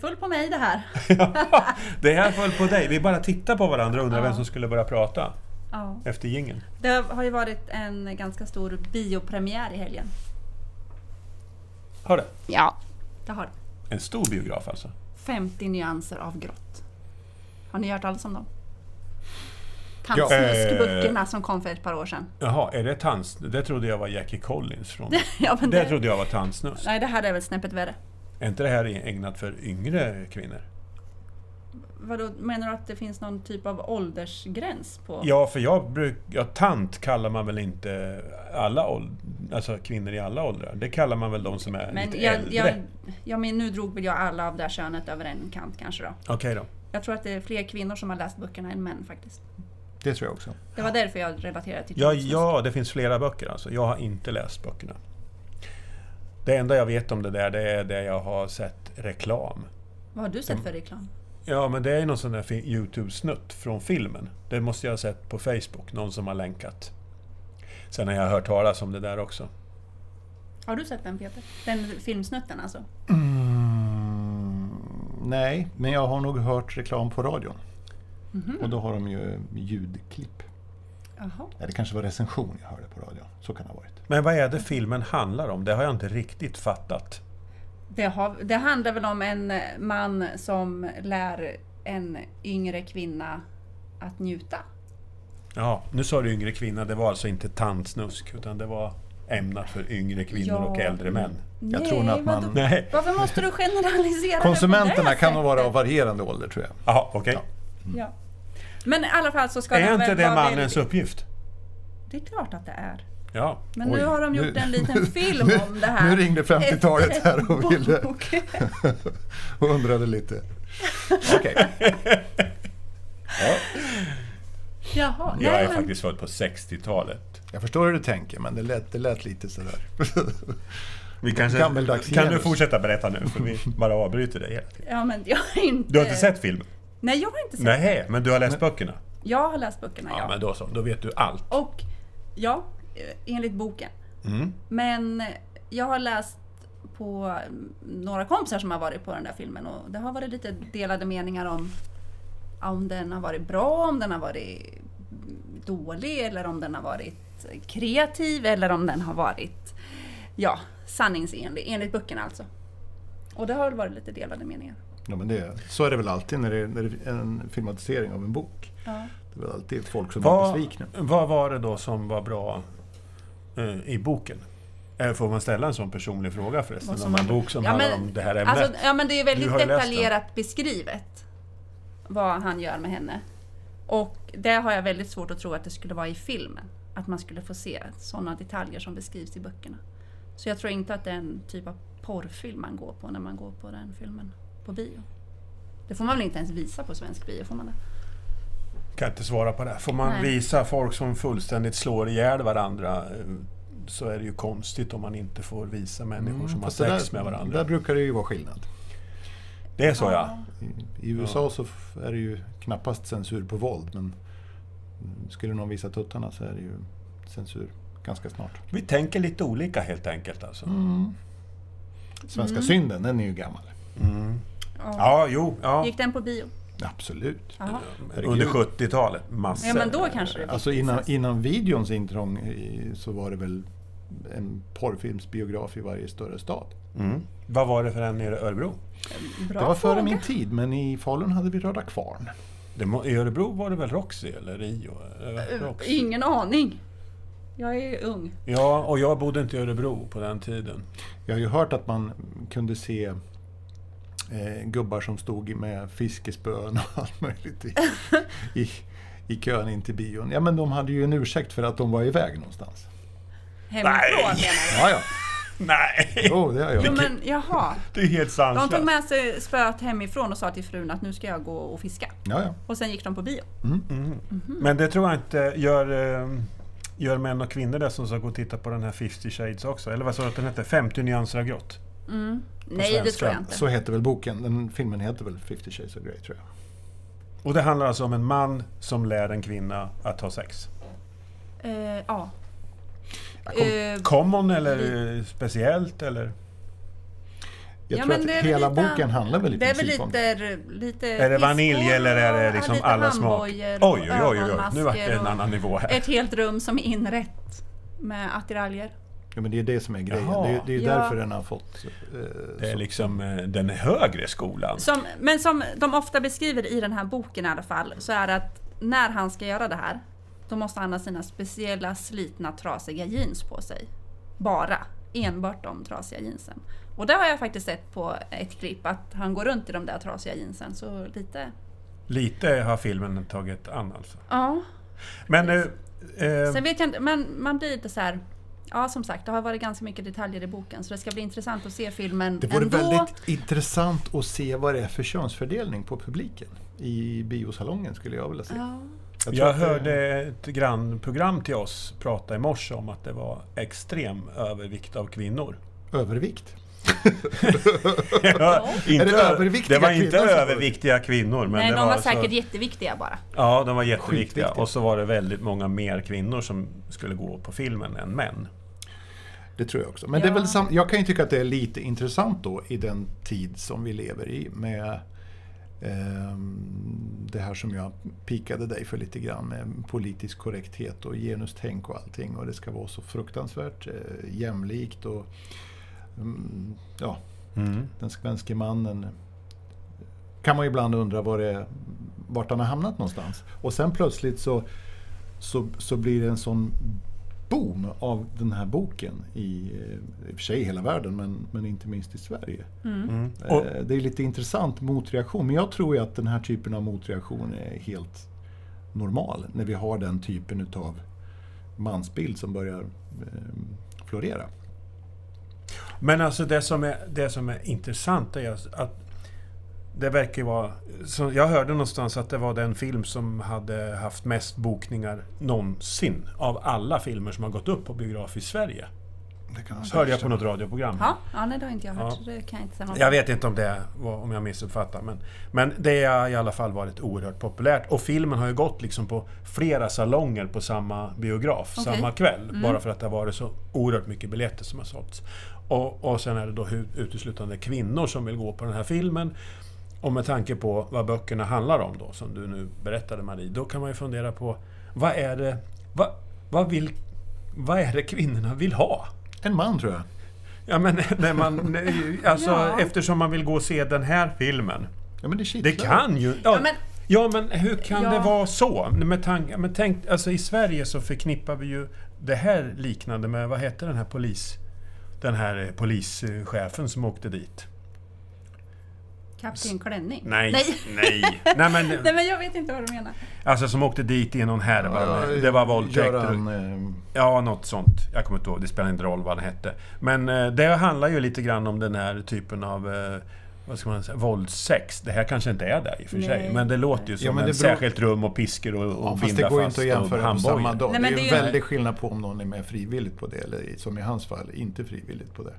föll på mig det här. Det här föll på dig. Vi bara tittar på varandra och undrar Ja. vem som skulle börja prata Ja. efter jingeln. Det har ju varit en ganska stor biopremiär i helgen. Har det? Ja. Det har det. En stor biograf alltså. 50 nyanser av grått. Har ni hört talas om dem? Ja. eh, Tandsnuskböckerna som kom för ett par år sedan. Jaha, är det tans... Det trodde jag var Jackie Collins från... ja, men Det det, trodde jag var tandsnusk. nej, det här är väl snäppet värre. Är inte det här ägnat för yngre kvinnor? Vadå, menar du att det finns någon typ av åldersgräns på? Ja, för jag brukar... Ja, tant kallar man väl inte alla åld- Alltså kvinnor i alla åldrar? Det kallar man väl de som är men lite jag, äldre? jag, jag men nu drog väl jag alla av det här könet över en kant kanske då. Okej då. Jag tror att det är fler kvinnor som har läst böckerna än män faktiskt. Det tror jag också. Det var därför jag relaterade till Ja, tandsnusk. ja, det finns flera böcker alltså. Jag har inte läst böckerna. Det enda jag vet om det där, det är det jag har sett reklam. Vad har du sett för reklam? Ja, men det är någon sån där fi- Youtube-snutt från filmen. Det måste jag ha sett på Facebook, någon som har länkat. Sen har jag hört talas om det där också. Har du sett den Peter? Den filmsnutten alltså? Mm, Nej, men jag har nog hört reklam på radion. Och då har de ju ljudklipp. Jaha. Ja, det kanske var recension jag hörde på radion. Så kan det ha varit. Men vad är det filmen handlar om? Det har jag inte riktigt fattat. Det, har, det handlar väl om en eh, man som lär en yngre kvinna att njuta. Ja, nu sa du yngre kvinna, det var alltså inte tandsnusk, utan det var ämnat för yngre kvinnor Ja. och äldre män. Jag tror nog att man- vadå? Nej, Varför måste du generalisera det på det Konsumenterna här kan nog vara av sättet? varierande ålder tror jag. jaha, okej. Ja. Ja. Men i alla fall så ska Är de inte väl det vara mannens väldigt- uppgift? Det är klart att det är. Ja. Men Oj, nu har de gjort nu- en liten film om det här. Nu ringde 50-talet här och ville Bok. och undrade lite. Okej. Jaha. Jag nej, är men- faktiskt född på 60-talet. Jag förstår hur du tänker, men det lät, det lät lite sådär. Vi kanske, Gammeldags kan du genus. fortsätta berätta nu? För vi bara avbryter dig hela tiden. Ja, men jag har inte... Du har inte sett filmen? Nej, jag har inte sett. Nej, Eh, men du har läst böckerna? Jag har läst böckerna, ja. Ja, men då så. Då vet du allt. Och, ja, eh, enligt boken. Mm. Men jag har läst på mm, några kompisar som har varit på den där filmen och det har varit lite delade meningar om om den har varit bra, om den har varit dålig eller om den har varit kreativ eller om den har varit ja, sanningsenlig, enligt böckerna alltså. Och det har väl varit lite delade meningar. Ja, men det, så är det väl alltid när det, när det är en filmatisering av en bok. Ja. Det är väl alltid folk som är Vad, besvikna. vad var det då som var bra eh, i boken? Eh, Får man ställa en sån personlig fråga förresten? Vad som Om en var- bok som Ja, handlar men- om det här ämnet? Alltså, ja, men det Du är väldigt har ju läst den. detaljerat beskrivet vad han gör med henne. Och det har jag väldigt svårt att tro att det skulle vara i filmen. Att man skulle få se sådana detaljer som beskrivs i böckerna. Så jag tror inte att det är en typ av porrfilm man går på när man går på den filmen på bio. Det får man väl inte ens visa på svensk bio? Får man det? Kan inte svara på det. Får man Nej. visa folk som fullständigt slår ihjäl varandra eh, så är det ju konstigt om man inte får visa människor som har Mm. Fast det sex där, med varandra. Där brukar det ju vara skillnad. Det är så ja. I, i USA så f- är det ju knappast censur på våld, men mm, skulle någon visa tuttarna så är det ju censur ganska snart. Vi tänker lite olika helt enkelt alltså. Mm. Svenska synden, den är ju gammal. Mm. Ja, jo, ja. Gick den på bio? Absolut. Jaha. Herregud. Under 70-talet, massor. Ja, men då kanske det Alltså innan, innan videons intrång i- så var det väl en porrfilmsbiograf i varje större stad. Mm. Vad var det för en nere i Örebro? Bra det var före fråga. min tid, men i Falun hade vi Röda Kvarn. Det må, I Örebro var det väl Roxy eller Rio? Eh, Roxy. Ingen aning. Jag är ung. Ja, och jag bodde inte i Örebro på den tiden. Jag har ju hört att man kunde se eh, gubbar som stod med fiskespön och allt möjligt i, i, i kön in till bion. Ja, men de hade ju en ursäkt för att de var iväg någonstans. Hemifrån menar jag. Ja, ja. Nej! Jo, det har jag. Jo, men, jaha. Det är helt De tog sanslöst. med sig spöet hemifrån och sa till frun att nu ska jag gå och fiska. Ja, ja. Och sen gick de på bio. Mm. Mhm. Men det tror jag inte gör, eh, gör män och kvinnor det som ska gå och titta på den här 50 shades också. Eller vad sa du att den hette? 50 nyanser av grått. Nej, det svenska. tror jag inte. Så heter väl boken. Den filmen heter väl 50 Shades of Grey, tror jag. Och det handlar alltså om en man som lär en kvinna att ha sex. Eh, ja. Jag kom- Eh, Common eller eh, speciellt eller? Jag Ja, tror men att det är väl hela lite- boken handlar väl i Det är väl princip om lite... lite Är det vanilj piskor eller är det och liksom lite alla smak? Oj, handbojor och oj, oj, oj, oj. nu vart det ögonmasker en och annan nivå här. Ett helt rum som är inrett med attiraljer. Ja, men det är det som är grejen. Jaha. Det är, det är Ja. därför den har fått... Eh, Det är så- liksom eh, den högre skolan. Som, men som de ofta beskriver i den här boken i alla fall, så är det att när han ska göra det här, då måste han ha sina speciella slitna trasiga jeans på sig. Bara. Enbart de trasiga jeansen. Och det har jag faktiskt sett på ett klipp, att han går runt i de där trasiga jeansen. Så lite... Lite har filmen tagit an alltså. Ja. Men... Eh, eh, Sen vet jag inte, men man blir lite så här... Ja, som sagt, det har varit ganska mycket detaljer i boken, så det ska bli intressant att se filmen Det vore ändå. väldigt intressant att se vad det är för könsfördelning på publiken i biosalongen skulle jag vilja se. Ja. tror jag att det- hörde ett grannprogram till oss prata i morse om att det var extrem övervikt av kvinnor. Övervikt. Ja, inte, Är det överviktiga det var inte kvinnor som- överviktiga kvinnor. Men Nej, det de var, alltså- säkert jätteviktiga bara. Ja, de var jätteviktiga. Skitviktiga. Och så var det väldigt många mer kvinnor som skulle gå på filmen än män. Det tror jag också. Men Ja. det är väl sam- jag kan ju tycka att det är lite intressant då i den tid som vi lever i med ehm, det här som jag pikade dig för lite grann med politisk korrekthet och genustänk och allting och det ska vara så fruktansvärt eh, jämlikt och mm, ja, den svenske mannen kan man ju ibland undra var det, vart han har hamnat någonstans. Och sen plötsligt så, så, så blir det en sån boom av den här boken i, eh, i och för sig i hela världen, men, men inte minst i Sverige. Mm. Och, Eh, Det är lite intressant motreaktion, men jag tror ju att den här typen av motreaktion är helt normal när vi har den typen utav mansbild som börjar eh, florera. men alltså det som är, det som är intressant är alltså att det verkar ju vara... Så jag hörde någonstans att det var den film som hade haft mest bokningar någonsin av alla filmer som har gått upp på biograf i Sverige. Det kan Hörde jag på något radioprogram. Ja, ja nej, det har inte jag hört, Ja. så det kan jag inte säga något Jag vet inte om det var, om jag missuppfattar men, men det har i alla fall varit oerhört populärt och filmen har ju gått liksom på flera salonger på samma biograf Okej. samma kväll. Bara för att det har varit så oerhört mycket biljetter som har sålts. Och, och sen är det då hu- uteslutande kvinnor som vill gå på den här filmen. Och med tanke på vad böckerna handlar om då, som du nu berättade Marie, då kan man ju fundera på vad är det, vad, vad vill, vad är det kvinnorna vill ha? En man tror jag. Ja, men när man, nej, alltså, Ja. eftersom man vill gå och se den här filmen. Ja, men Det det, kittlar. kan ju... Ja, Ja, men, men- ja, men hur kan Ja. det vara så? Med tanke, men tänk, alltså, I Sverige så förknippar vi ju det här liknande med, vad hette den här polis... Den här eh, polischefen som åkte dit. Kapten Klänning? Nej, Nej. nej. nej, Nej men, men jag vet inte vad du menar. alltså som åkte dit i någon härva. Ja, med- det var våldtäkter. Göran, eh, Ja, något sånt. Jag kommer inte ihåg, det spelar inte roll vad den hette. Men eh, det handlar ju lite grann om den här typen av eh, vad ska man säga, våldsex. Det här kanske inte är det i och för sig, Nej. men det låter ju som men en det beror- särskilt rum och piskor och, och Ja, eh, fast det binda går ju fast inte att jämföra och på samma handbojor. dag. Nej, det men är ju det en är ju- väldig skillnad på om någon är med frivilligt på det, eller som i hans fall, inte frivilligt på det.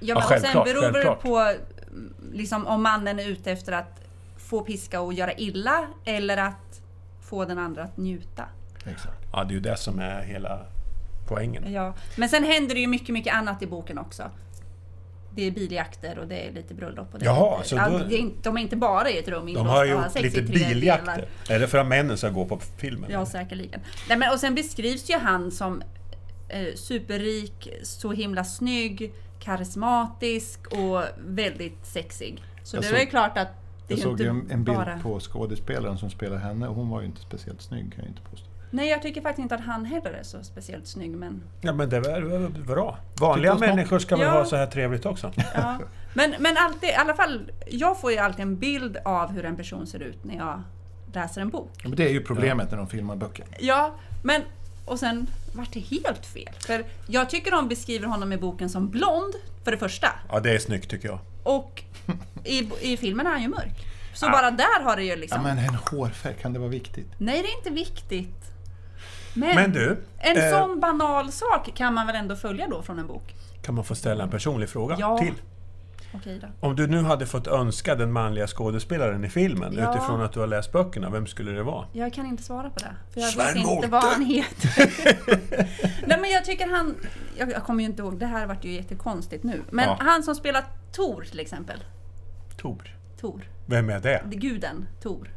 Ja, men självklart, sen beror det självklart. på mm, liksom, om mannen är ute efter att få piska och göra illa eller att få den andra att njuta. Exakt. Ja, det är ju det som är hela poängen. Ja. Men sen händer det ju mycket, mycket annat i boken också. Det är biljakter och det är lite bröllop. Och det är Jaha, lite, så ja, då- det är inte, de är inte bara i ett rum De inlåsta har ju och gjort sex i lite tre delar. biljakter. Är det för att männen ska gå på filmen? Ja, säkerligen. Nej, men, och sen beskrivs ju han som eh, superrik, så himla snygg, karismatisk och väldigt sexig. Så Jag det såg- är väl klart att det är Jag ju såg inte ju en, en bild bara... på skådespelaren som spelar henne och hon var ju inte speciellt snygg kan jag inte påstå. Nej, jag tycker faktiskt inte att han heller är så speciellt snygg, men... Ja, men det är väl bra. Vanliga Titta oss människor ska väl Ja. ha så här trevligt också? Ja. Men, men alltid, i alla fall, jag får ju alltid en bild av hur en person ser ut när jag läser en bok. Men det är ju problemet när de filmar böcker. Ja, men... Och sen vart det helt fel. För jag tycker de beskriver honom i boken som blond, för det första. Ja, det är snyggt tycker jag. Och i, i filmen är han ju mörk. Så bara där har det ju liksom... Ja, men en hårfärg, kan det vara viktigt? Nej, det är inte viktigt. Men du, En eh, sån banal sak kan man väl ändå följa då från en bok? Kan man få ställa en personlig fråga Ja. till? Okej då. Om du nu hade fått önska den manliga skådespelaren i filmen Ja. utifrån att du har läst böckerna, vem skulle det vara? Jag kan inte svara på det. För jag Sven vet inte Wollter. vad han heter. Nej, men jag tycker han... jag, jag kommer ju inte ihåg, det här vart ju jättekonstigt nu. Men Ja. han som spelar Tor till exempel. Tor. Tor. Vem är det? Det är Guden Tor.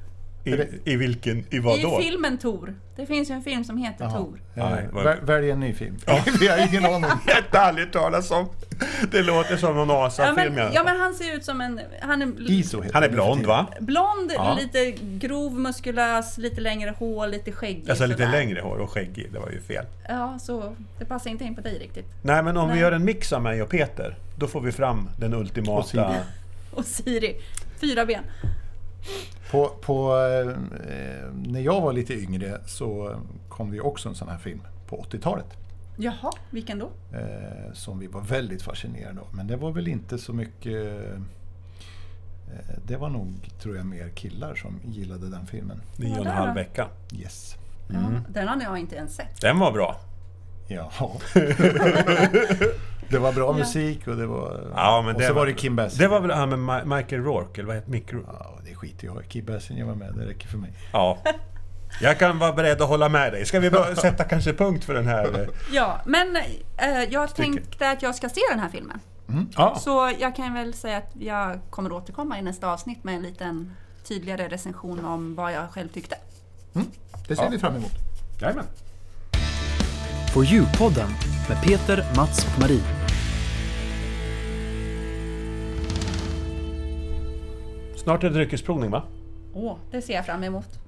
I, i vilken, i vad då? I filmen Tor. Det finns ju en film som heter Jaha. Tor. Eh, Nej, vad- väl- Välj en ny film. Vi har ingen aning. Jättehärligt talas om. Det låter som någon Ja Asa-film. men, Ja, ja men han ser ut som en... Han är l- Iso heter Han är den blond för va? blond, Ja. lite grov, muskulös, lite längre hår, lite skäggig. Alltså lite sådär. längre hår och skäggig, det var ju fel. Ja, så det passar inte in på dig riktigt. Nej men om Nej. vi gör en mix av mig och Peter, då får vi fram den Och Siri. ultimata... Och Siri, fyra ben. På, på, eh, när jag var lite yngre så kom det ju också en sån här film på 80-talet. Jaha, vilken då? Eh, som vi var väldigt fascinerade av. Men det var väl inte så mycket... Eh, det var nog, tror jag, mer killar som gillade den filmen. Nio och en där halv då? vecka. Mm. Yes. Ja, den har jag inte ens sett. Den var bra. Ja. det var bra musik och det var... Ja, men och det så var- var det Kim Basinger. Det var väl han med Ma- Michael Rourke, eller vad heter Mick Rourke? Ja, det skiter jag i. Kim Basinger var med, det räcker för mig. Ja. Jag kan vara beredd att hålla med dig. Ska vi bör- sätta kanske punkt för den här... eh, Ja, men eh, jag Sticker. tänkte att jag ska se den här filmen. Ja. Så jag kan väl säga att jag kommer återkomma i nästa avsnitt med en liten tydligare recension om vad jag själv tyckte. Det ser Ja. vi fram emot. Jajamän. For You-podden med Peter, Mats och Marie. Snart är det dryckesprovning va? Åh, det ser jag fram emot.